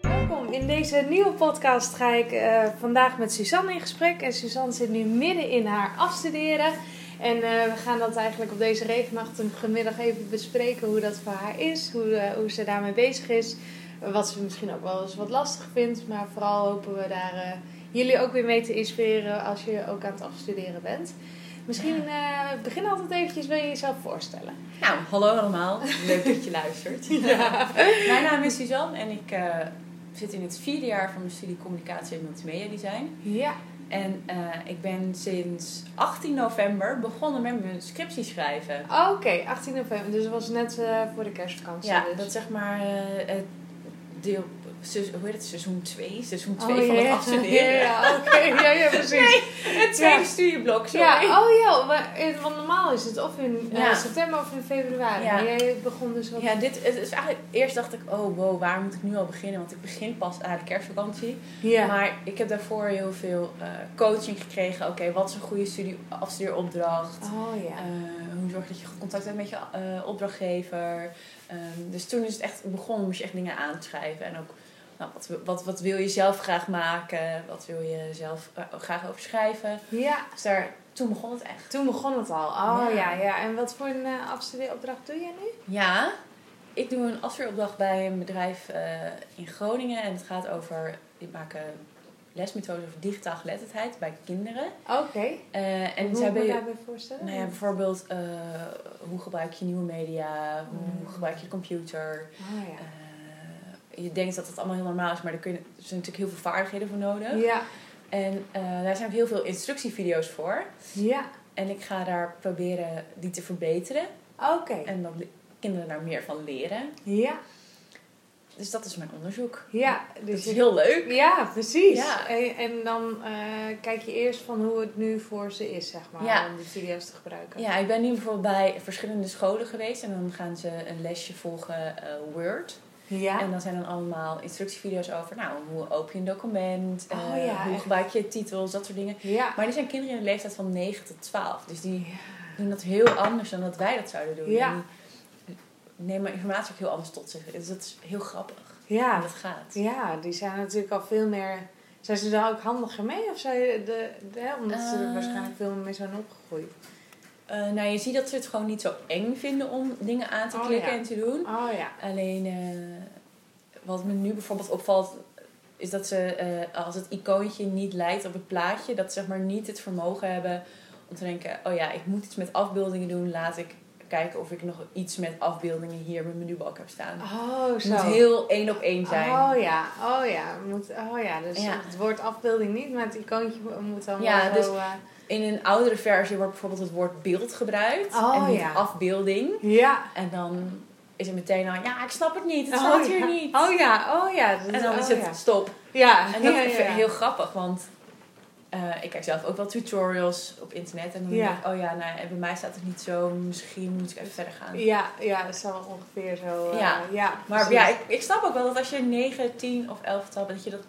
Welkom in deze nieuwe podcast. Ga ik eh, vandaag met Suzanne in gesprek. En Suzanne zit nu midden in haar afstuderen. En eh, we gaan dat eigenlijk op deze regenachtige middag even bespreken hoe dat voor haar is, hoe, eh, hoe ze daarmee bezig is. eh, Wat ze misschien ook wel eens wat lastig vindt, maar vooral hopen we daar eh, jullie ook weer mee te inspireren als je ook aan het afstuderen bent. Misschien eh, begin altijd eventjes, wil je jezelf voorstellen? Nou, hallo allemaal. Leuk dat je luistert. Mijn naam is Suzanne en ik eh, zit in het vierde jaar van mijn studie Communicatie en Multimedia Design. Ja. En eh, ik ben sinds 18 november begonnen met mijn scriptie schrijven. Oké, 18 november, dus dat was net eh, voor de kerstvakantie. Ja, dus. dat is zeg maar eh, het deel, se- hoe heet het, seizoen 2? Seizoen 2 Oh, van ja, het ja. afstuderen. Ja, ja, oké. Ja, ja, precies. Het tweede Ja. studieblok, sorry. ja, oh ja, maar, eh, want normaal is het of in eh, Ja. september of in februari. Ja. Maar jij begon dus wat... Ja, dit het is eigenlijk. Eerst dacht ik, oh wow, waar moet ik nu al beginnen? Want ik begin pas aan de kerstvakantie. Ja. Maar ik heb daarvoor heel veel eh, coaching gekregen. Oké, wat is een goede studie, afstudeeropdracht? Oh ja. Eh, hoe zorg je dat je goed contact hebt met je eh, opdrachtgever? Ehm, dus toen is het echt begonnen, moest je echt dingen aanschrijven. En ook, nou, wat, wi- wat, wat wil je zelf graag maken? Wat wil je zelf eh, graag over schrijven? ja, Dus daar, toen begon het echt. toen begon het al. Oh ja, Ja. ja. En wat voor een eh, afstudeeropdracht doe je nu? Ja, ik doe een afstudeeropdracht bij een bedrijf eh, in Groningen. En het gaat over, die maken lesmethodes over digitaal geletterdheid bij kinderen. Oké. Eh, Hoe en zij moet je hebben daarbij voorstellen? nou ja, bijvoorbeeld eh, hoe gebruik je nieuwe media, Mm. hoe gebruik je de computer. Oh ja. Eh, je denkt dat dat allemaal heel normaal is, maar daar kun je, er zijn natuurlijk heel veel vaardigheden voor nodig. Ja. En eh, daar zijn ook heel veel instructievideo's voor. Ja. En ik ga daar proberen die te verbeteren Oké. en dat le- kinderen daar meer van leren. Ja. Dus dat is mijn onderzoek. Ja. Dat is Dus heel leuk. ja, precies. Ja. En, en dan eh, kijk je eerst van hoe het nu voor ze is, zeg maar, Ja. om die video's te gebruiken. Ja, ik ben nu bijvoorbeeld bij verschillende scholen geweest en dan gaan ze een lesje volgen eh, Word. Ja. En dan zijn dan allemaal instructievideo's over, nou, hoe open je een document, eh, Oh ja, hoe echt. gebruik je titels, dat soort dingen. ja. Maar die zijn kinderen in de leeftijd van 9 tot 12, dus die Ja. doen dat heel anders dan dat wij dat zouden doen. Ja. En die nemen informatie ook heel anders tot zich. Dus dat is heel grappig Ja, hoe dat gaat. ja, die zijn natuurlijk al veel meer. Zijn ze daar ook handiger mee? Of zijn de, de- hè, omdat ze er Eh. waarschijnlijk veel meer zijn opgegroeid. Eh, nou, je ziet dat ze het gewoon niet zo eng vinden om dingen aan te Oh, klikken ja. en te doen. Oh ja. Alleen eh, wat me nu bijvoorbeeld opvalt, is dat ze eh, als het icoontje niet lijkt op het plaatje, dat ze zeg maar niet het vermogen hebben om te denken: oh ja, ik moet iets met afbeeldingen doen, laat ik kijken of ik nog iets met afbeeldingen hier in mijn menubalk heb staan. Oh, het zo. moet heel één op één zijn. Oh ja, oh ja. Moet, oh ja, dus Ja. het woord afbeelding niet, maar het icoontje mo- moet dan Ja, wel dus- zo... eh, In een oudere versie wordt bijvoorbeeld het woord beeld gebruikt Oh, en niet ja. afbeelding. ja. En dan is het meteen al: ja, ik snap het niet, het Oh, staat ja. hier niet. Oh ja, oh ja. Dus- En dan oh, is het Ja. stop. ja. En dat Ah, ja, vind ik ja. heel grappig, want eh, ik kijk zelf ook wel tutorials op internet. En dan Ja. denk ik, oh ja, nou, en bij mij staat het niet zo. Misschien moet ik even verder gaan. Ja, ja, het zal ongeveer zo... eh, ja. Ja. Maar ja, ik, ik snap ook wel dat als je 9, 10 of 11 hebt, dat je dat...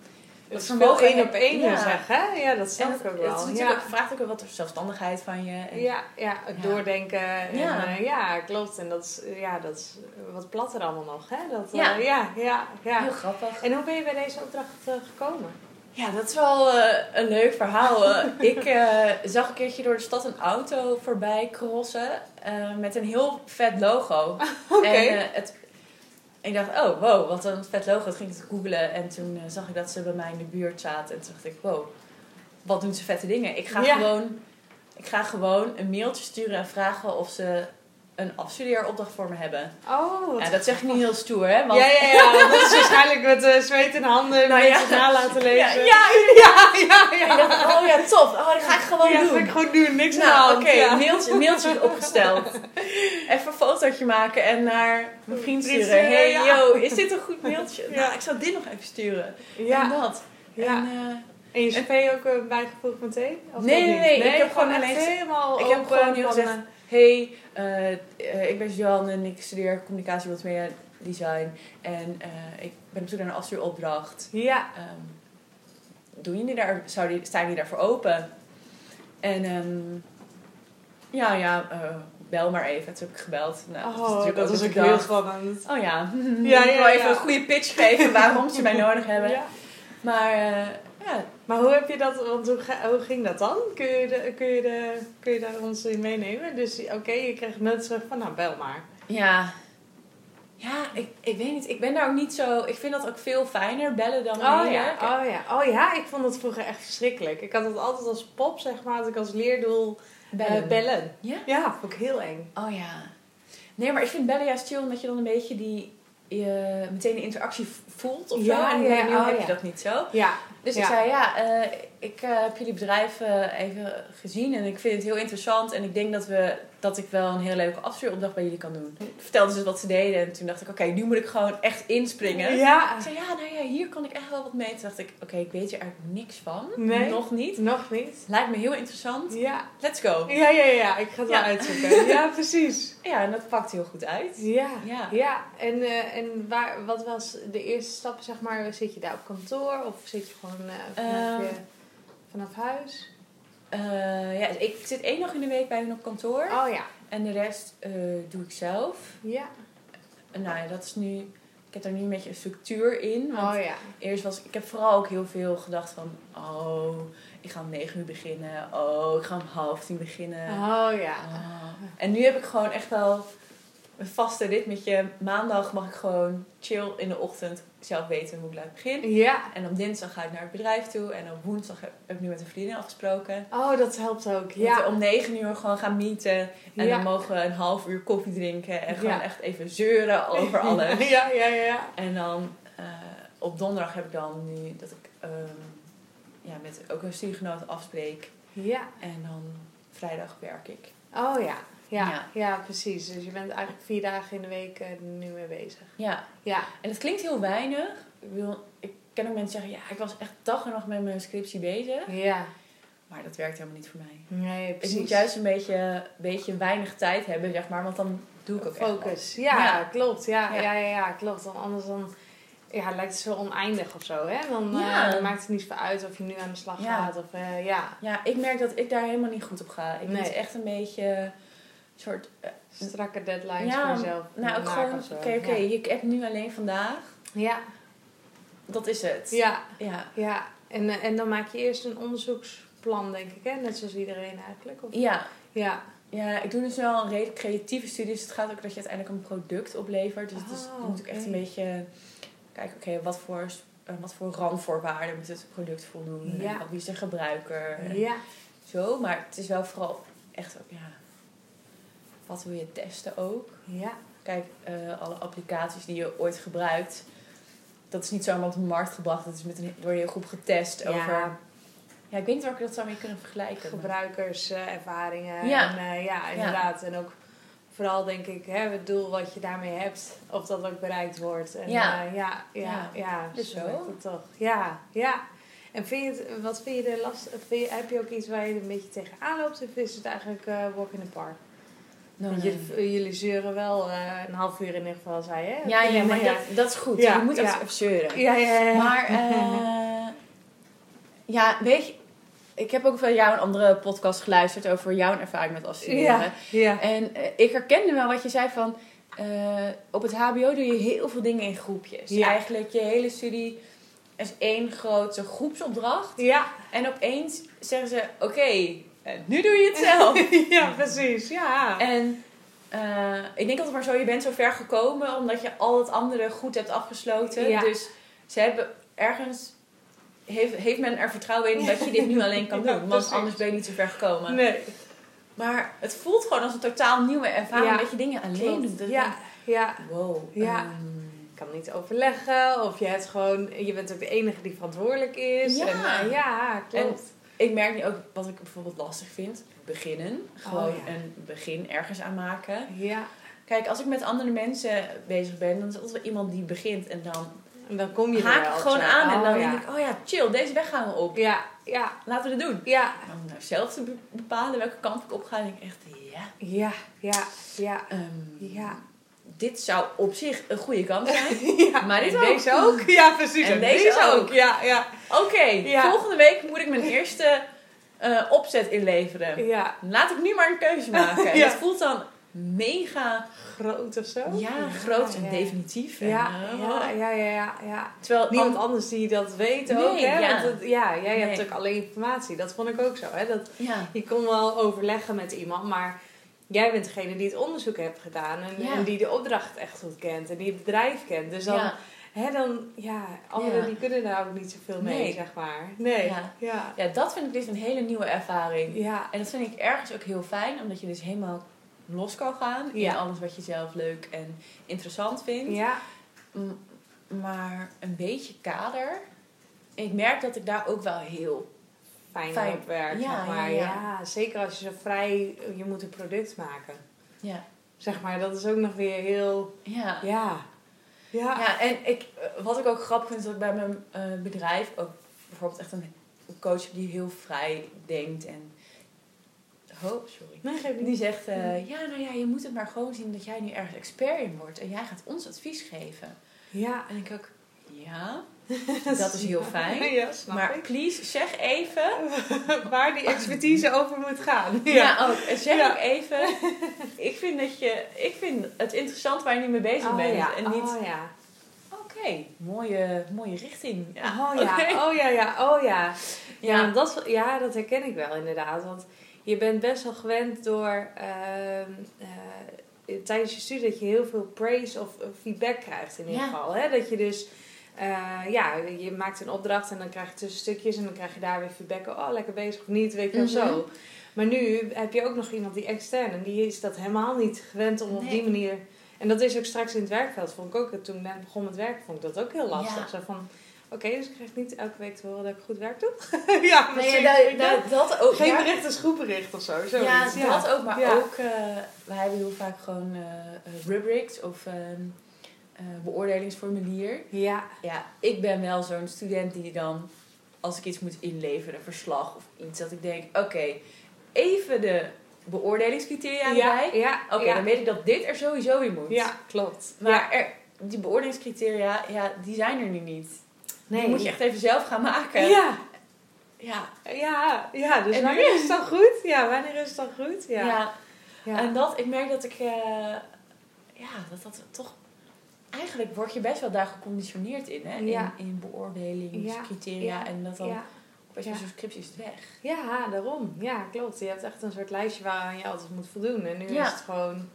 Het is vermogen veel één heb- op één, ja. zeggen. Ja, dat snap en ik ook het wel. is ja. natuurlijk, vraagt ook wel wat zelfstandigheid van je. En, Ja, ja, het Ja. doordenken. En, Ja. ja. ja, klopt. En dat is, ja, dat is wat platter allemaal nog. Hè? Dat, eh, Ja. ja, ja, ja. Heel grappig. En hoe ben je bij deze opdracht eh, gekomen? Ja, dat is wel eh, een leuk verhaal. Eh, ik eh, zag een keertje door de stad een auto voorbij crossen eh, met een heel vet logo. Oké. En eh, het, ik dacht, oh wow, wat een vet logo. Toen ging ik het googlen en toen eh, zag ik dat ze bij mij in de buurt zaten. En toen dacht ik, wow, wat doen ze vette dingen. Ik ga, Ja. gewoon, ik ga gewoon een mailtje sturen en vragen of ze een afstudeeropdracht voor me hebben. Oh, wat Ja, dat zeg ik niet heel stoer, hè? Want, Ja, ja, ja. want Dat is waarschijnlijk met eh, zweet in de handen Nou ja. mensen na laten ja, lezen. ja, ja, ja. ja. Ik dacht, oh ja, tof. Oh, dat ga ik gewoon Ja, dat doen. ga ik gewoon doen. Niks aan de Nou, hand. oké, ja. mailtje, mailtje opgesteld. Even een fotootje maken en naar mijn Vriend vriend sturen. sturen, hey, ja. yo, is dit een goed mailtje? Ja. Nou, ik zou dit nog even sturen. En Ja, dat. ja. En, En eh, je spray ook eh, bijgevoegd met thee? Of Nee, ook nee, niet? nee, ik heb gewoon echt alleen- helemaal ik heb open gewoon heel van, gezegd, eh, Hey, eh, eh, ik ben Jan en ik studeer communicatie, multimedia, design. En eh, ik ben op zoek naar een afstuuropdracht. eh, Ja, Ehm, doen jullie daar, zou die, staan jullie daarvoor open? En ehm, ja, ja, eh, bel maar even. Toen heb ik gebeld. Nou, oh, was natuurlijk dat ook was dat ook ik heel dacht, spannend. Oh Ja, ja, ja, ja, ik wil even ja. een goede pitch geven waarom ze mij nodig hebben. Ja. Maar eh, ja, Maar hoe heb je dat, want hoe, ga- hoe ging dat dan? Kun je, de, kun, je de, kun je daar ons in meenemen? Dus oké, je kreeg net terug van, nou bel maar. ja, ja ik, ik weet niet. Ik ben daar ook niet zo... Ik vind dat ook veel fijner, bellen dan Oh mailen. ja, Ik- oh ja, oh ja, ik vond dat vroeger echt verschrikkelijk. Ik had dat altijd als pop, zeg maar, had ik als leerdoel eh, Bellen. bellen. Ja? Ja, vond ik heel eng. Oh ja. Nee, maar ik vind bellen juist chill omdat je dan een beetje die... Je meteen de interactie v- voelt of Ja, zo. En ja, nu oh heb ja. je dat niet zo. Ja, Dus Ja. ik zei, ja, eh, ik eh, heb jullie bedrijf eh, even gezien en ik vind het heel interessant. En ik denk dat, we, dat ik wel een hele leuke afstuuropdracht bij jullie kan doen. Vertelde ze wat ze deden en toen dacht ik, oké, nu moet ik gewoon echt inspringen. ja. Ik zei, ja, nou ja, hier kan ik echt wel wat mee. Toen dacht ik, oké, ik weet hier eigenlijk niks van. Nee. Nog niet. Nog niet? Lijkt me heel interessant. Ja. Let's go. Ja, ja, ja, ik ga het Ja. wel uitzoeken. Ja, precies. Ja, en dat pakt heel goed uit. Ja. Ja. Ja, en, eh, en waar, wat was de eerste stap, zeg maar? Zit je daar op kantoor of zit je gewoon eh, vanaf, Ehm. je- vanaf huis? Eh, ja, ik zit één dag in de week bij hun op kantoor. Oh ja, En de rest eh, doe ik zelf. ja. En nou ja, dat is nu... Ik heb daar nu een beetje een structuur in. Want Oh ja. Eerst was ik heb vooral ook heel veel gedacht van oh, ik ga om 9 uur beginnen. Oh, ik ga om half tien beginnen. Oh ja. Oh. En nu heb ik gewoon echt wel een vaste ritmetje. Maandag mag ik gewoon chill in de ochtend zelf weten hoe ik laat begin. Ja. En op dinsdag ga ik naar het bedrijf toe. En op woensdag heb heb ik nu met een vriendin afgesproken. Oh, dat helpt ook. Dat we Ja. om 9 uur gewoon gaan meeten. En ja. dan mogen we een half uur koffie drinken. En gewoon Ja. echt even zeuren over alles. Ja, ja, ja. ja. En dan eh, op donderdag heb ik dan nu dat ik ehm, ja, met ook een studiegenoot afspreek. Ja. En dan vrijdag werk ik. Oh ja. Ja. ja. Ja. precies. Dus je bent eigenlijk vier dagen in de week eh, nu mee bezig. Ja, Ja. en dat klinkt heel weinig. Ik, wil, ik ken ook mensen zeggen, ja, ik was echt dag en nacht met mijn scriptie bezig. Ja. Maar dat werkt helemaal niet voor mij. Nee, precies. Ik moet juist een beetje, beetje weinig tijd hebben, zeg maar, want dan doe ik ook echt wat. Focus. Ja, Ja. klopt. Ja, ja. Ja. Ja, ja, klopt. Want anders dan ja, lijkt het zo oneindig of zo. Hè? Dan eh, Ja. maakt het niet veel uit of je nu aan de slag Ja. gaat. Of, eh, ja, Ja, ik merk dat ik daar helemaal niet goed op ga. Ik Nee. moet echt een beetje een soort... eh, strakke deadlines Ja, voor jezelf. nou, ook maken gewoon, of oké, zo. oké, ik heb nu alleen vandaag. Ja. Dat is het. Ja. ja, ja. ja. En, eh, en dan maak je eerst een onderzoeksplan, denk ik. Hè? Net zoals iedereen eigenlijk. Of... Ja. Ja. ja, ik doe dus wel een redelijk creatieve studie. Dus het gaat ook dat je uiteindelijk een product oplevert. Dus het is, Oh, je moet ook echt een oké. beetje kijken, oké, wat voor... eh, wat voor randvoorwaarden moet het product voldoen? Ja. En Wie is de gebruiker? En Ja. Zo, maar het is wel vooral echt ook, ja... Wat wil je testen ook? Ja. Kijk, eh, alle applicaties die je ooit gebruikt... Dat is niet zomaar op de markt gebracht. Dat is met een, door een hele groep getest Ja. over... Ja, ik weet niet waar ik dat zou mee kunnen vergelijken. maar- gebruikerservaringen. Ja. En, eh, ja, inderdaad. En ook vooral denk ik hè, het doel wat je daarmee hebt, of dat ook bereikt wordt. En, Ja. eh, ja, ja, ja, Ja. Dus zo zo. werkt het toch. Ja, ja. En vind je het, wat vind je er last? vind je- heb je ook iets waar je een beetje tegenaan loopt? Of is het eigenlijk eh, walk in the park? Nou, Want nee. jullie, jullie zeuren wel eh, een half uur in ieder geval, zei je? Ja, ja, maar ja. Dat, dat is goed. Ja, je moet ja. ook even zeuren. Ja, ja, ja. Maar, eh, ja, weet je... Ik heb ook van jou een andere podcast geluisterd over jouw ervaring met afstuderen. ja, ja. En eh, ik herkende wel wat je zei van... eh, op het hbo doe je heel veel dingen in groepjes. Ja. Eigenlijk je hele studie is één grote groepsopdracht. Ja. En opeens zeggen ze... Oké, eh, nu doe je het zelf. ja, precies. Ja. En eh, ik denk altijd maar zo, je bent zo ver gekomen omdat je al het andere goed hebt afgesloten. Ja. Dus ze hebben ergens, heeft, heeft men er vertrouwen in dat je dit nu alleen kan Ja, doen. want precies. anders ben je niet zo ver gekomen. nee. Maar het voelt gewoon als een totaal nieuwe ervaring Ja. dat je dingen alleen Klopt. doet. Dat Ja, ik ja. denk, Wow. Ja. ehm, Je kan niet overleggen of je, hebt gewoon, je bent ook de enige die verantwoordelijk is. Ja. en, eh, ja klopt. ik merk nu ook wat ik bijvoorbeeld lastig vind. Beginnen. Gewoon Oh, ja. een begin ergens aan maken. ja. Kijk, als ik met andere mensen bezig ben, dan is er altijd wel iemand die begint en dan En dan kom je er haak wel, ik gewoon zo. aan en Oh, dan ja. denk ik, oh ja, chill, deze weg gaan we op. Ja, ja, Laten we dit doen. ja, Maar om nou zelf te be- bepalen welke kant ik op ga, denk ik echt, ja. ja, ja, ja. ehm, Ja. Dit zou op zich een goede kant zijn. ja. Maar dit En ook. Deze ook. Ja, precies. En deze ook. Ja, ja. Oké, Ja. volgende week moet ik mijn eerste eh, opzet inleveren. Ja, Laat ik nu maar een keuze maken. En Ja. dat voelt dan mega groot of zo. ja, groot en ja. definitief. En, Ja, eh, ja, ja, ja, ja, ja. Terwijl Niemand an- anders die dat weet Nee, ook, hè? ja. Want het- ja, jij hebt Nee. ook alle informatie. Dat vond ik ook zo, hè? Dat, ja. je kon wel overleggen met iemand, maar jij bent degene die het onderzoek hebt gedaan. En, Ja. en die de opdracht echt goed kent. En die het bedrijf kent. Dus dan, ja. hè, dan ja, anderen Ja. die kunnen daar ook niet zoveel mee, Nee. zeg maar. Nee, Ja. ja. Ja, dat vind ik dus een hele nieuwe ervaring. Ja, En dat vind ik ergens ook heel fijn, omdat je dus helemaal los kan gaan Ja. in alles wat je zelf leuk en interessant vindt. ja, M- maar een beetje kader. Ik merk dat ik daar ook wel heel. fijn, Fijn. op werk, Ja, zeg maar. ja, Ja, ja. zeker als je zo vrij... Je moet een product maken. Ja. Zeg maar, dat is ook nog weer heel... Ja. Ja. Ja. Ja, en ik, eh, wat ik ook grappig vind, is dat ik bij mijn eh, bedrijf ook bijvoorbeeld echt een coach heb die heel vrij denkt. En. Oh, sorry. Nee, geef Die niet. zegt, Hmm. eh, ja, nou ja, je moet het maar gewoon zien dat jij nu ergens expert in wordt. En jij gaat ons advies geven. Ja. En ik ook, ja, dat is heel fijn. Ja, snap Maar ik. please, zeg even. Waar die expertise over moet gaan. Ja, Ja. ook. En zeg Ja. ook even. Ik vind, dat je, ik vind het interessant waar je nu mee bezig Oh, bent. ja. En niet, Oh ja. oké, mooie, mooie richting. Oh ja. oké. Oh ja, ja. Oh ja. Ja, Ja. dat, ja, dat herken ik wel inderdaad. Want je bent best wel gewend door ehm, eh, tijdens je studie dat je heel veel praise of eh, feedback krijgt in ieder Ja. geval. Hè? Dat je dus, eh, ja, je maakt een opdracht en dan krijg je tussenstukjes en dan krijg je daar weer feedback. Oh, lekker bezig of niet, weet je wel Mhm. zo. Maar nu heb je ook nog iemand die extern en die is dat helemaal niet gewend om op Nee. die manier. En dat is ook straks in het werkveld, vond ik ook. Toen ik net begon met werk, vond ik dat ook heel lastig. Zo Ja. van, Oké, dus ik krijg niet elke week te horen dat ik goed werk doe. ja, Nee, precies. ja, Ik dat- dat- dat ook. Geen ja. bericht is goed bericht of zo. Zoiets. Ja, dat ook. Maar Ja. ook, eh, wij hebben heel vaak gewoon eh, eh, rubrics of ehm, eh, beoordelingsformulier. Ja, Ja, ik ben wel zo'n student die dan, als ik iets moet inleveren, een verslag of iets, dat ik denk, oké, even de beoordelingscriteria ja, erbij. ja. Oké, ja. dan weet ik dat dit er sowieso in moet. Ja, klopt. Maar er, die beoordelingscriteria, ja, die zijn er nu niet. Die moet je echt even zelf gaan maken. Ja, Ja. ja, ja. Dus En nu? wanneer is het dan goed? Ja, wanneer is het dan goed? Ja. Ja. Ja. En dat, ik merk dat ik, eh, ja, dat dat toch, eigenlijk word je best wel daar geconditioneerd in, hè? Ja. In, in beoordelingscriteria Ja. en dat dan, ja. best wel Ja. zo'n scriptie is het weg. Ja, daarom. Ja, klopt. Je hebt echt een soort lijstje waaraan je altijd moet voldoen. En nu Ja. is het gewoon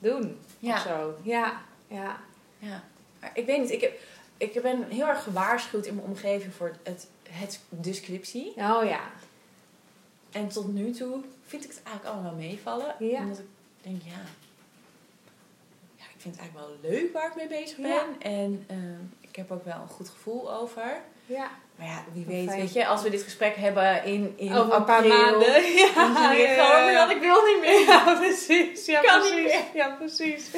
doen of zo. Ja, ja. Ja, maar ik weet niet. Ik, heb, ik ben heel erg gewaarschuwd in mijn omgeving voor het, het descriptie. Oh ja. En tot nu toe vind ik het eigenlijk allemaal wel meevallen. Ja. Omdat ik denk, ja, ja, ik vind het eigenlijk wel leuk waar ik mee bezig ben. Ja. En ehm, ik heb ook wel een goed gevoel over. Ja. Maar ja, wie Wat weet, fijn. weet je, als we dit gesprek hebben in, in Over een paar april, maanden. Ja, Dan zie je ja, gewoon ja, weer ja. dat ik wil niet meer. Ja, precies. Ja, Kan niet precies. Ja, precies.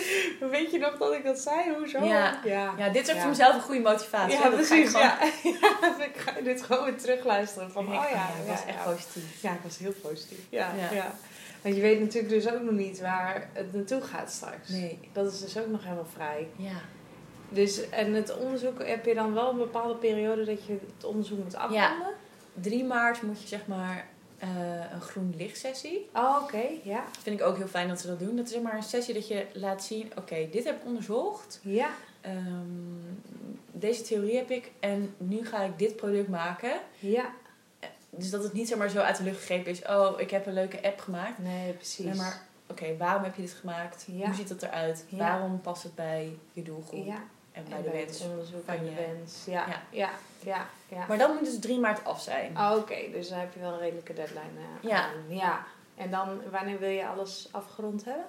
Weet je nog dat ik dat zei? Hoezo? Ja. ja. Ja, dit is ook Ja. voor mezelf een goede motivatie. Ja, hè. Dat ga ik precies. gewoon- Ja. Ja, ik ga dit gewoon weer terugluisteren. Van, oh ja, ja, dat was ja, echt ja. positief. Ja, ik was heel positief. Ja, Ja. ja. Want je weet natuurlijk dus ook nog niet waar het naartoe gaat straks. Nee. Dat is dus ook nog helemaal vrij. Ja. Dus, en het onderzoek heb je dan wel een bepaalde periode dat je het onderzoek moet afronden? 3 maart moet je zeg maar eh, een groen lichtsessie. Oh, oké. Ja. Dat vind ik ook heel fijn dat ze dat doen. Dat is zeg maar een sessie dat je laat zien: oké, dit heb ik onderzocht. Ja. Ehm, deze theorie heb ik en nu ga ik dit product maken. Ja. Dus dat het niet zomaar zo uit de lucht gegrepen is: oh, ik heb een leuke app gemaakt. Nee, precies. Nee, maar oké, waarom heb je dit gemaakt? Ja. Hoe ziet het eruit? Ja. Waarom past het bij je doelgroep Ja. en bij En de bij wens? het onderzoek van en de je- wens. Ja, Ja. ja, ja, ja. Maar dan moet dus 3 maart af zijn. Ah, Oké, dus dan heb je wel een redelijke deadline. eh, Ja. aan. ja. En dan, wanneer wil je alles afgerond hebben?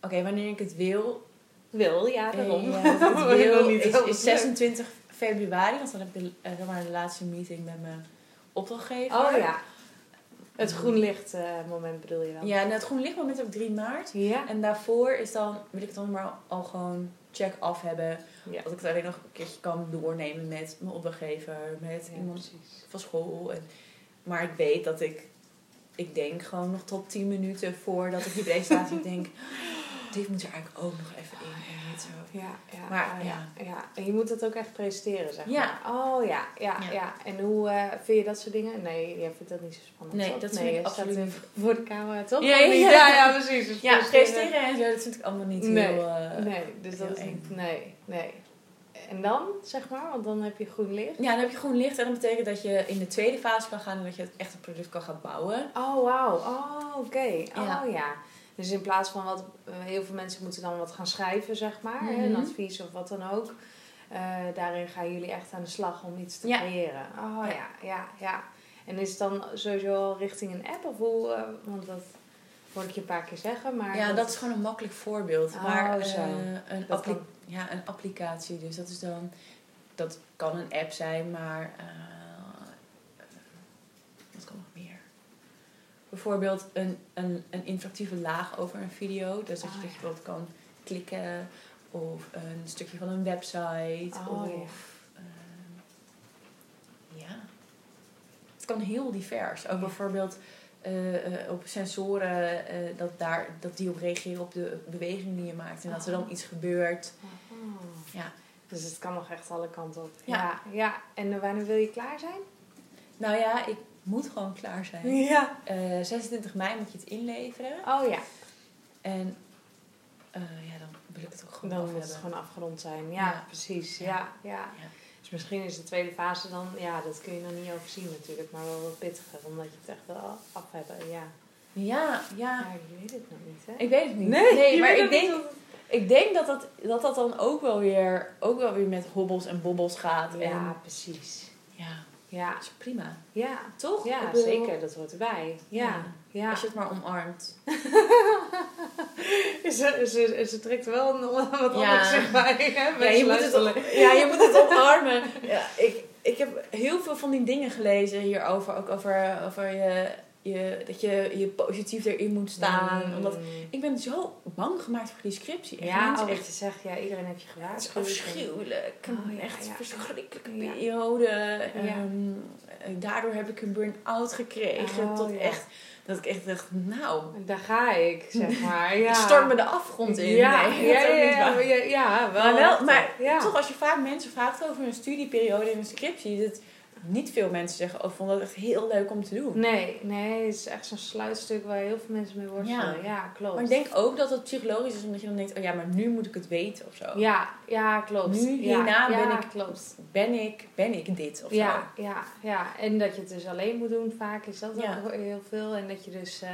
Oké, wanneer ik het wil, Wil, ja, Ja, daarom. dat het Maar ik wil wil niet is, heel is druk. 26 februari, want dan heb ik eh, zeg maar de laatste meeting met mijn opdrachtgever. Oh ja. Het groen licht eh, moment bedoel je dan? Ja, en het groen lichtmoment heb ik 3 maart. Ja. En daarvoor is dan, wil ik het dan maar al gewoon check af hebben. Ja. Dat ik het alleen nog een keertje kan doornemen met mijn opdrachtgever, met iemand precies. van school. En, maar ik weet dat ik, ik denk gewoon nog tot 10 minuten voordat ik die presentatie denk, dit moet er eigenlijk ook nog even in. En niet zo. Ja, ja, Maar, ah, ja. ja. ja. En je moet het ook echt presenteren, zeg Ja. maar. Oh ja, ja, Ja. ja. En hoe eh, vind je dat soort dingen? Nee, jij vindt dat niet zo spannend. Nee, toch? dat vind ik je staat absoluut er voor de camera, toch? Ja, Of ja, niet? ja. ja, ja, precies. Dus Ja, presteren en zo, dat vind ik allemaal niet Nee. heel... eh, Nee, dus dat heel is eng. niet. Nee, nee. En dan, zeg maar, want dan heb je groen licht. Ja, dan heb je groen licht en dat betekent dat je in de tweede fase kan gaan en dat je het echt een product kan gaan bouwen. Oh, wauw. Oh, oké. Ja. Oh ja. Dus in plaats van wat eh, heel veel mensen moeten dan wat gaan schrijven, zeg maar, hè, Mhm. een advies of wat dan ook. Eh, daarin gaan jullie echt aan de slag om iets te Ja. creëren. Oh Ja. ja. ja, ja, En is het dan sowieso al richting een app of hoe? eh, want dat hoor ik je een paar keer zeggen, maar. ja, dat is gewoon een makkelijk voorbeeld. Oh, maar eh, zo. een, Dat appli- kan. ja, een applicatie, dus dat is dan... Dat kan een app zijn, maar... eh, wat kan nog meer? Bijvoorbeeld een, een, een interactieve laag over een video. Dus dat je Oh, ja. bijvoorbeeld kan klikken of een stukje van een website. Oh, ja. of, eh, ja. Het kan heel divers. Ook Ja. bijvoorbeeld eh, eh, op sensoren, eh, dat, daar, dat die op reageren op de beweging die je maakt. En dat er Oh. dan iets gebeurt. Aha. Ja. Dus het kan nog echt alle kanten op. Ja. ja. ja. En eh, wanneer wil je klaar zijn? Nou ja, ik moet gewoon klaar zijn. Ja. Eh, 26 mei moet je het inleveren. Oh ja. En eh, ja, dan wil ik het ook gewoon Dan af moet het hebben. gewoon afgerond zijn. Ja, Ja. precies. Ja. Ja. Ja, Ja. Dus misschien is de tweede fase dan, ja, dat kun je nog niet overzien natuurlijk, maar wel wat pittiger, omdat je het echt wel af hebben. Ja, Ja, ja. ja je weet het nog niet, hè? Ik weet het niet. je maar weet ik ook denk, niet of- ik denk dat dat, dat dat dan ook wel, weer, ook wel weer met hobbels en bobbels gaat. Ja, En, precies. ja, Ja, dat is prima. ja. Toch? Ik Ja, bedoel, zeker, dat hoort erbij. Ja, ja. Als je het maar omarmt. Ze, ze, ze trekt wel een, wat Ja. anders zich bij, hè? Ja, je moet het, luisteren. ja, je moet het omarmen. Ja, ik, ik heb heel veel van die dingen gelezen hierover. Ook over, over je, je, dat je, je positief erin moet staan. Mm. Omdat, ik ben zo bang gemaakt voor die scriptie. Echt, ja, mensen, oh, echt, wat je zegt, ja, iedereen heeft je het is gewaarschuwd. afschuwelijk. Oh, ja, echt ja. verschrikkelijke Ja. periode. Ja. Ehm, daardoor heb ik een burn-out gekregen. Oh, tot ja. echt, dat ik echt dacht, nou, Daar ga ik, zeg maar. Ja. ik stort me de afgrond in. Ja, Nee, ja, dat is ook ja, niet ja, maar ja, ja, waar. wel. Maar, wel, echt, maar ja. toch, als je vaak mensen vraagt over een studieperiode en een scriptie, dat niet veel mensen zeggen, oh, ik vond dat echt heel leuk om te doen. Nee, nee, het is echt zo'n sluitstuk waar heel veel mensen mee worstelen. Ja. Ja, klopt. Maar ik denk ook dat het psychologisch is, omdat je dan denkt, oh ja, maar nu moet ik het weten of zo. Ja, ja, klopt. Nu, ja, hierna ja, ben ik- Klopt. Ben ik, ben ik dit of zo? Ja, ja, ja, en dat je het dus alleen moet doen vaak is dat Ja. ook heel veel. En dat je dus eh,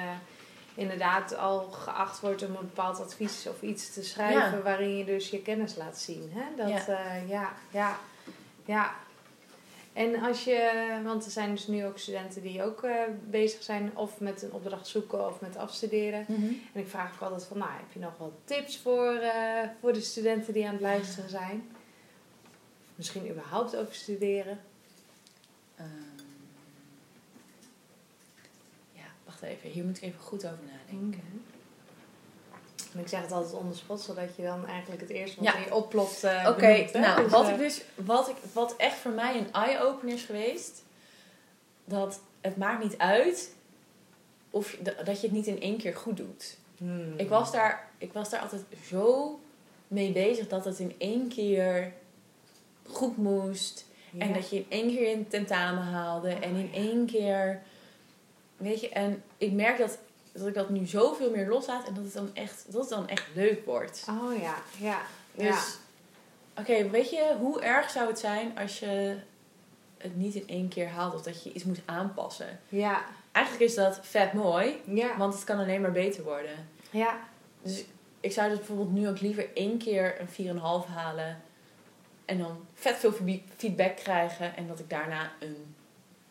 inderdaad al geacht wordt om een bepaald advies of iets te schrijven Ja. waarin je dus je kennis laat zien. Hè? Dat, Ja. ja. ja, ja, ja. En als je, want er zijn dus nu ook studenten die ook eh, bezig zijn of met een opdracht zoeken of met afstuderen. Mhm. En ik vraag ook altijd van, nou, heb je nog wel tips voor, eh, voor de studenten die aan het luisteren zijn? Misschien überhaupt over studeren? Ehm, ja, wacht even, hier moet ik even goed over nadenken. En ik zeg het altijd onder spot, zodat je dan eigenlijk het eerste wat Ja. in je oplopt. eh, Oké, benoemt, hè. nou, Dus, wat, eh, ik dus, wat, ik, wat echt voor mij een eye-opener is geweest, dat het maakt niet uit of je- dat je het niet in één keer goed doet. hmm. Ik, was daar, ik was daar altijd zo mee bezig dat het in één keer goed moest. Ja. Oh, En dat je in één keer een tentamen haalde. en in ja. één keer. Weet je, en ik merk dat, dat ik dat nu zoveel meer loslaat. En dat het dan echt, dat het dan echt leuk wordt. Oh ja, ja. Dus. Oké, weet je, hoe erg zou het zijn als je het niet in één keer haalt. Of dat je iets moet aanpassen. Ja, Eigenlijk is dat vet mooi. ja, ja. Want het kan alleen maar beter worden. ja. Dus ik zou dus bijvoorbeeld nu ook liever één keer een 4,5 halen. En dan vet veel feedb- feedback krijgen. En dat ik daarna een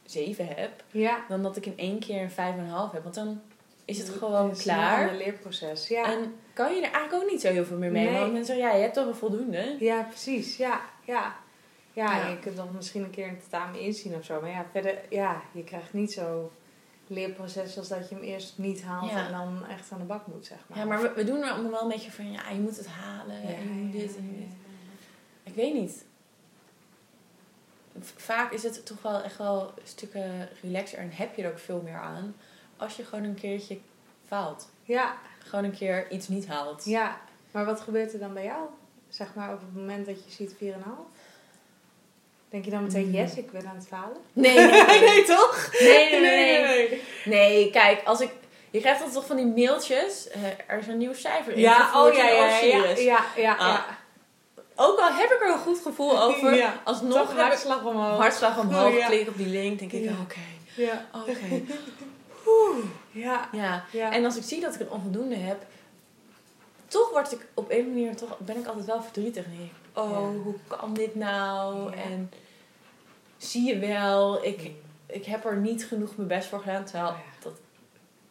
7 heb. ja. Dan dat ik in één keer een 5,5 heb. Want dan is het Het gewoon is klaar. Een ander leerproces, ja. En kan je er eigenlijk ook niet zo heel veel meer mee. Nee. Want mensen zeggen, ja, je hebt toch een voldoende. Ja, precies, ja, ja. Ja, Ja. en je kunt nog misschien een keer een tentamen inzien of zo. Maar ja, verder, ja, je krijgt niet zo leerproces als dat je hem eerst niet haalt Ja. en dan echt aan de bak moet, zeg maar. Ja, maar we, we doen er allemaal wel een beetje van, ja, je moet het halen, Ja, en je moet ja, dit en ja, dit. ja. Ik weet niet. V- Vaak is het toch wel echt wel stukken relaxer en heb je er ook veel meer aan als je gewoon een keertje faalt. Ja, Gewoon een keer iets niet haalt. ja. Maar wat gebeurt er dan bij jou? Zeg maar op het moment dat je ziet 4,5? Denk je dan meteen, Mm. yes, ik ben aan het falen? Nee, nee, nee. nee. toch? Nee, nee, nee, nee. Nee, kijk, als ik. Je krijgt altijd toch van die mailtjes. eh, er is een nieuw cijfer in. Ja, gevoerd oh ja, en ja, ja, ja, serieus. ja, ja. Ah, Ook al heb ik er een goed gevoel over. Ja, alsnog Toch heb ik hartslag omhoog. hartslag omhoog. Oh, ja. Klik op die link. Denk ik, Ja. oké. Ja, Oké. ja, Ja. ja. En als ik zie dat ik een onvoldoende heb. Toch word ik op een manier toch ben ik altijd wel verdrietig. En denk ik, oh, Ja. hoe kan dit nou? Ja. En zie je wel, ik, ik heb er niet genoeg mijn best voor gedaan. Terwijl Ja. dat,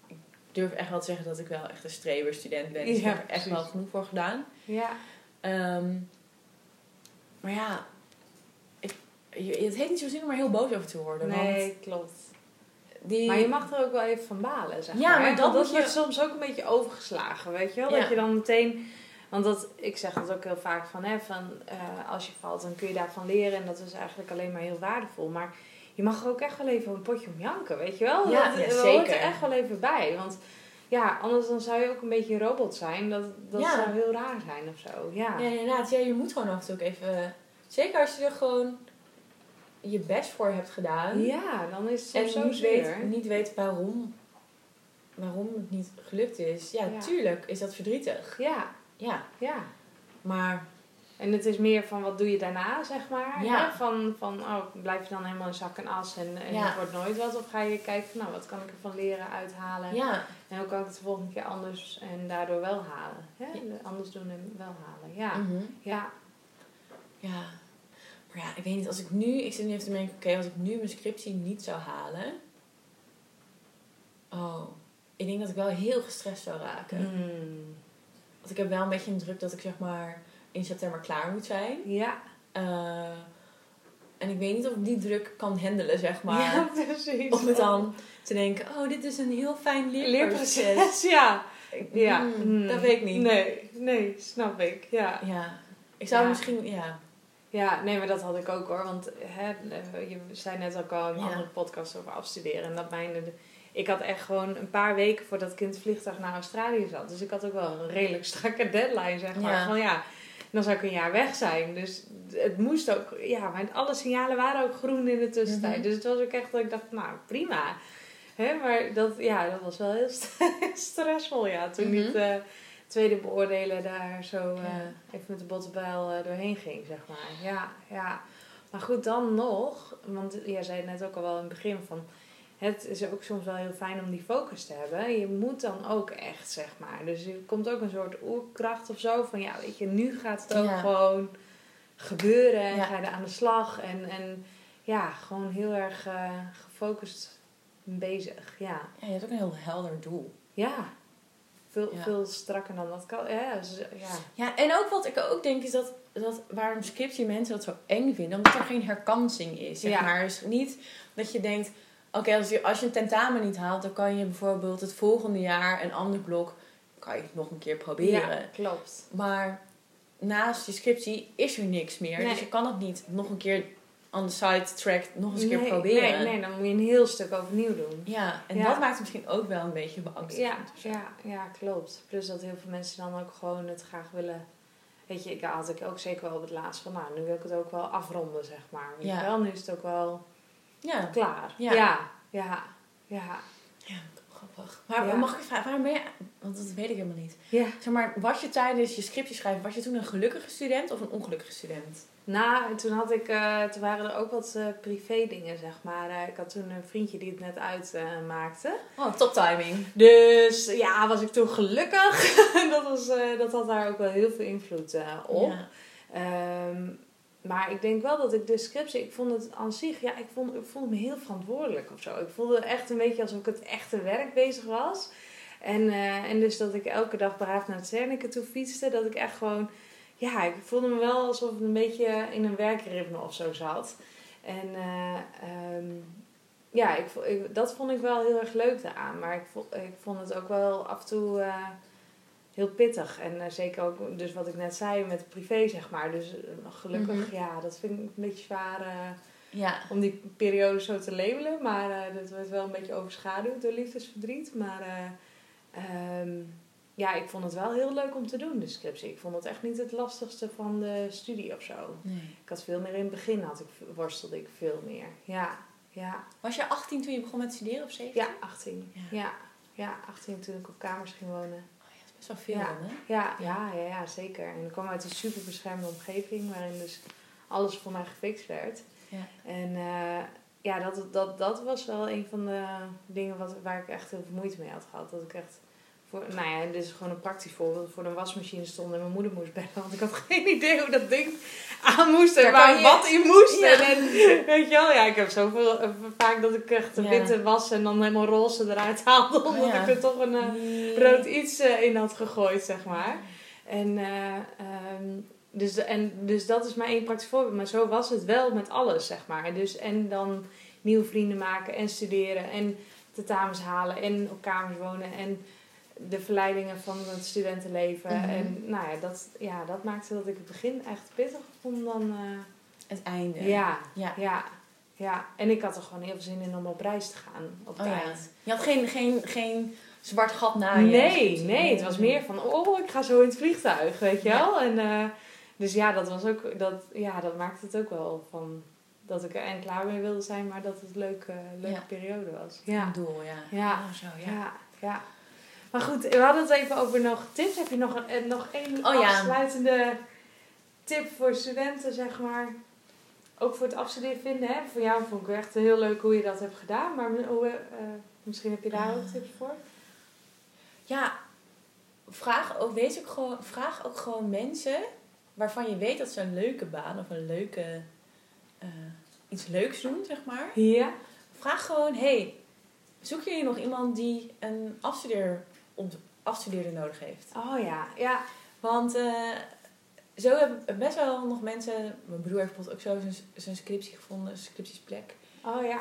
ik durf echt wel te zeggen dat ik wel echt een streber student ben. Dus ik Ja, heb er echt precies. wel genoeg voor gedaan. ja. Ehm, maar ja, ik, je- het heeft niet zozeer om er heel boos over te worden. Want Nee, klopt. die, Maar je mag er ook wel even van balen, zeg Ja, maar. maar Want dat dat moet je- wordt soms ook een beetje overgeslagen, weet je wel? Ja. Dat je dan meteen... Want dat, ik zeg dat ook heel vaak van, hè, van eh, als je valt, dan kun je daarvan leren. En dat is eigenlijk alleen maar heel waardevol. Maar je mag er ook echt wel even een potje om janken, weet je wel? Ja, dat, ja, dat hoort er zeker. echt wel even bij. Want ja, anders dan zou je ook een beetje een robot zijn. Dat, dat Ja. zou heel raar zijn of zo. Ja, Ja, inderdaad. Ja, je moet gewoon af en toe ook even... eh, Zeker als je er gewoon je best voor hebt gedaan. ja dan is het en soms zo niet, zeer. weet, niet weet waarom, waarom het niet gelukt is. Ja, Ja. tuurlijk is dat verdrietig. Ja, Ja, ja. maar... En het is meer van wat doe je daarna, zeg maar. Ja. hè? Van, van oh, blijf je dan helemaal in zak en as en, en Ja. het wordt nooit wat? Of ga je kijken van nou, wat kan ik ervan leren, uithalen? eh, Ja, En hoe kan ik het de volgende keer anders en daardoor wel halen? Hè? Ja. Anders doen en wel halen, ja. mhm. Ja, Ja. Maar ja, ik weet niet, als ik nu, ik zit nu even te denken, oké, als ik nu mijn scriptie niet zou halen. Oh, ik denk dat ik wel heel gestrest zou raken. Mm. Want ik heb wel een beetje een druk dat ik zeg maar in september klaar moet zijn. ja. Eh, en ik weet niet of ik die druk kan handelen, zeg maar. ja precies. Om het dan te denken, oh, dit is een heel fijn leerproces. leerproces, ja. ja. Mm, Mm. Dat weet ik niet. Nee, nee, snap ik, ja. Ja. Ik zou Ja. misschien, ja. Ja, nee, maar dat had ik ook hoor. Want hè, eh, je zei net ook al in een Ja. andere podcast over afstuderen. En dat mijn, ik had echt gewoon een paar weken voordat ik in het vliegtuig naar Australië zat. Dus ik had ook wel een redelijk strakke deadline, zeg maar. Ja. Van ja, dan zou ik een jaar weg zijn. Dus het moest ook, ja, maar alle signalen waren ook groen in de tussentijd. Mhm. Dus het was ook echt dat ik dacht, nou prima. Hè, maar dat, ja, dat was wel heel st- stressvol, ja. Toen Mhm. niet... eh, tweede beoordelen daar zo eh, Ja. even met de bottenbijl eh, doorheen ging, zeg maar. Ja, ja. Maar goed, dan nog, want jij zei het net ook al wel in het begin van... Het is ook soms wel heel fijn om die focus te hebben. Je moet dan ook echt, zeg maar. Dus er komt ook een soort oerkracht of zo van... Ja, weet je, nu gaat het ook Ja. gewoon gebeuren. En Ja. ga je er aan de slag. En, en ja, gewoon heel erg eh, gefocust bezig. Ja. ja. Je hebt ook een heel helder doel. Ja. Veel, Ja. veel strakker dan dat kan. Ja, dus, ja. Ja, en ook wat ik ook denk is dat, dat waarom scriptie mensen dat zo eng vinden, omdat er geen herkansing is. Zeg Ja. maar. Dus niet dat je denkt, oké, als, je, als je een tentamen niet haalt, dan kan je bijvoorbeeld het volgende jaar een ander blok, kan je het nog een keer proberen. Ja, klopt. Maar naast je scriptie is er niks meer. Nee. Dus je kan het niet nog een keer on the side track nog eens een keer Nee, proberen. Nee, nee, dan moet je een heel stuk overnieuw doen. Ja, en Ja. dat maakt het misschien ook wel een beetje beangstigend. Ja, ja, ja, klopt. Plus dat heel veel mensen dan ook gewoon het graag willen. Weet je, ik daar had ik ook zeker wel op het laatst van, nou, nu wil ik het ook wel afronden, zeg maar. Weet Ja. je wel, nu is het ook wel ja. klaar. Ja. ja, ja. ja. Ja, grappig. Maar Ja. mag ik vragen, waarom ben je... Want dat weet ik helemaal niet. ja. Zeg maar, was je tijdens je scriptje schrijven, was je toen een gelukkige student of een ongelukkige student? Nou, toen had ik, eh, toen waren er ook wat eh, privé dingen, zeg maar. Eh, ik had toen een vriendje die het net uitmaakte. Oh, top timing. Dus ja, was ik toen gelukkig. dat, was, eh, dat had daar ook wel heel veel invloed eh, op. Ja. Ehm, maar ik denk wel dat ik de scriptie, ik vond het aan zich, ja, ik, vond, ik voelde me heel verantwoordelijk of zo. Ik voelde echt een beetje alsof ik het echte werk bezig was. En, eh, en dus dat ik elke dag braaf naar het Zernike toe fietste, dat ik echt gewoon, ja, ik voelde me wel alsof ik een beetje in een werkritme of zo zat. En eh, ehm, ja, ik, vo- ik- dat vond ik wel heel erg leuk daaraan. Maar ik vond, ik vond het ook wel af en toe eh, heel pittig. En eh, zeker ook, dus wat ik net zei, met privé, zeg maar. Dus eh, gelukkig, Mhm. ja, dat vind ik een beetje zwaar eh, Ja. om die periode zo te labelen. Maar eh, dat werd wel een beetje overschaduwd door liefdesverdriet. Maar eh, ehm, ja, ik vond het wel heel leuk om te doen, de scriptie. Ik vond het echt niet het lastigste van de studie of zo. Nee. Ik had veel meer in het begin, had ik, worstelde ik veel meer. Ja, ja. Was je 18 toen je begon met studeren of 17? Ja, 18. Ja. Ja. ja. 18 toen ik op kamers ging wonen. Oh ja, dat is best wel veel Ja. dan, hè? Ja, ja, ja, ja zeker. En ik kwam uit een super beschermde omgeving waarin dus alles voor mij gefixt werd. Ja. En eh, ja, dat, dat, dat was wel een van de dingen wat, waar ik echt heel veel moeite mee had gehad. Dat ik echt, voor, nou ja, dit is gewoon een praktisch voorbeeld, voor een wasmachine stond en mijn moeder moest bellen. Want ik had geen idee hoe dat ding aan moest en Daar waar kan je- wat in moest. Ja. En, en, weet je wel, ja, ik heb zoveel, eh, vaak dat ik echt de Ja. witte was en dan helemaal roze eruit haalde. Omdat ja. ik er toch een... eh, Nee. rood iets eh, in had gegooid, zeg maar. En, eh, ehm, dus, en, dus dat is maar één praktisch voorbeeld. Maar zo was het wel met alles, zeg maar. Dus, en dan nieuwe vrienden maken en studeren en tentamens halen en op kamers wonen en de verleidingen van het studentenleven. Mhm. En nou ja dat, ja, dat maakte dat ik het begin echt pittig vond dan... eh, Het einde. ja, Ja. ja, ja. En ik had er gewoon heel veel zin in om op reis te gaan op Oh tijd. ja. Je had geen, geen, geen zwart gat na je. Nee, nee, het was meer van, oh, ik ga zo in het vliegtuig, weet je wel. En, eh, dus ja dat, was ook, dat, ja, dat maakte het ook wel van dat ik er en klaar mee wilde zijn, maar dat het een leuke, leuke Ja. periode was. Een Ja. doel, ja. Ja. Oh, zo, ja. ja, ja. Maar goed, we hadden het even over nog tips. Heb je nog een, eh, nog één Oh ja. afsluitende tip voor studenten, zeg maar? Ook voor het afstuderen vinden, hè? Voor jou vond ik echt heel leuk hoe je dat hebt gedaan. Maar hoe, eh, misschien heb je daar Ah. ook tips voor? Ja, vraag ook, wees ook gewoon, vraag ook gewoon mensen waarvan je weet dat ze een leuke baan of een leuke, eh, iets leuks doen, zeg maar. Ja. Vraag gewoon, hey, zoek jullie nog iemand die een afstudeer, ont- afstudeerder nodig heeft? Oh ja, ja. Want eh, zo hebben best wel nog mensen, mijn broer heeft bijvoorbeeld ook zo zijn, zijn scriptie gevonden, scriptiesplek. Oh ja,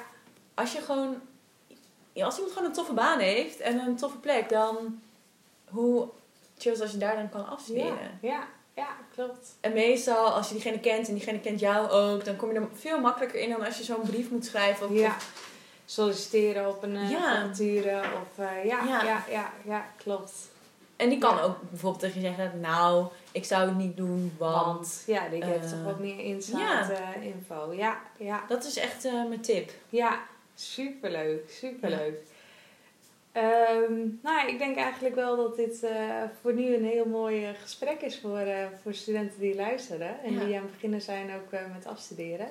als je gewoon. Ja, als iemand gewoon een toffe baan heeft en een toffe plek, dan hoe chill is als je daar dan kan ja, afstuderen. ja, ja, klopt. En meestal als je diegene kent en diegene kent jou ook, dan kom je er veel makkelijker in dan als je zo'n brief moet schrijven. Of, Ja. of- Solliciteren op een eh, Ja. vacature of eh, ja, Ja. ja. Ja, ja, klopt. en die kan Ja. ook bijvoorbeeld tegen je zeggen, nou, ik zou het niet doen, want... ja, die heeft eh, toch wat meer insight ja. eh, info. Ja, ja, Dat is echt eh, mijn tip. ja, superleuk, superleuk. Ehm, nou, ja, ik denk eigenlijk wel dat dit eh, voor nu een heel mooi eh, gesprek is voor, eh, voor studenten die luisteren en Ja. die aan het beginnen zijn ook eh, met afstuderen.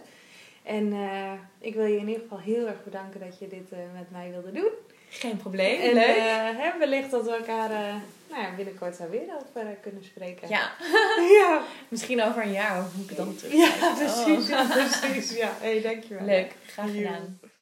En eh, ik wil je in ieder geval heel erg bedanken dat je dit eh, met mij wilde doen. Geen probleem, En leuk. eh, hè, wellicht dat we elkaar eh, nou ja, binnenkort daar weer over eh, kunnen spreken. ja, ja. misschien over een jaar hoe ik het dan terug. Oh. Ja, precies. Ja, precies. Ja, hey, dankjewel. Leuk, graag gedaan.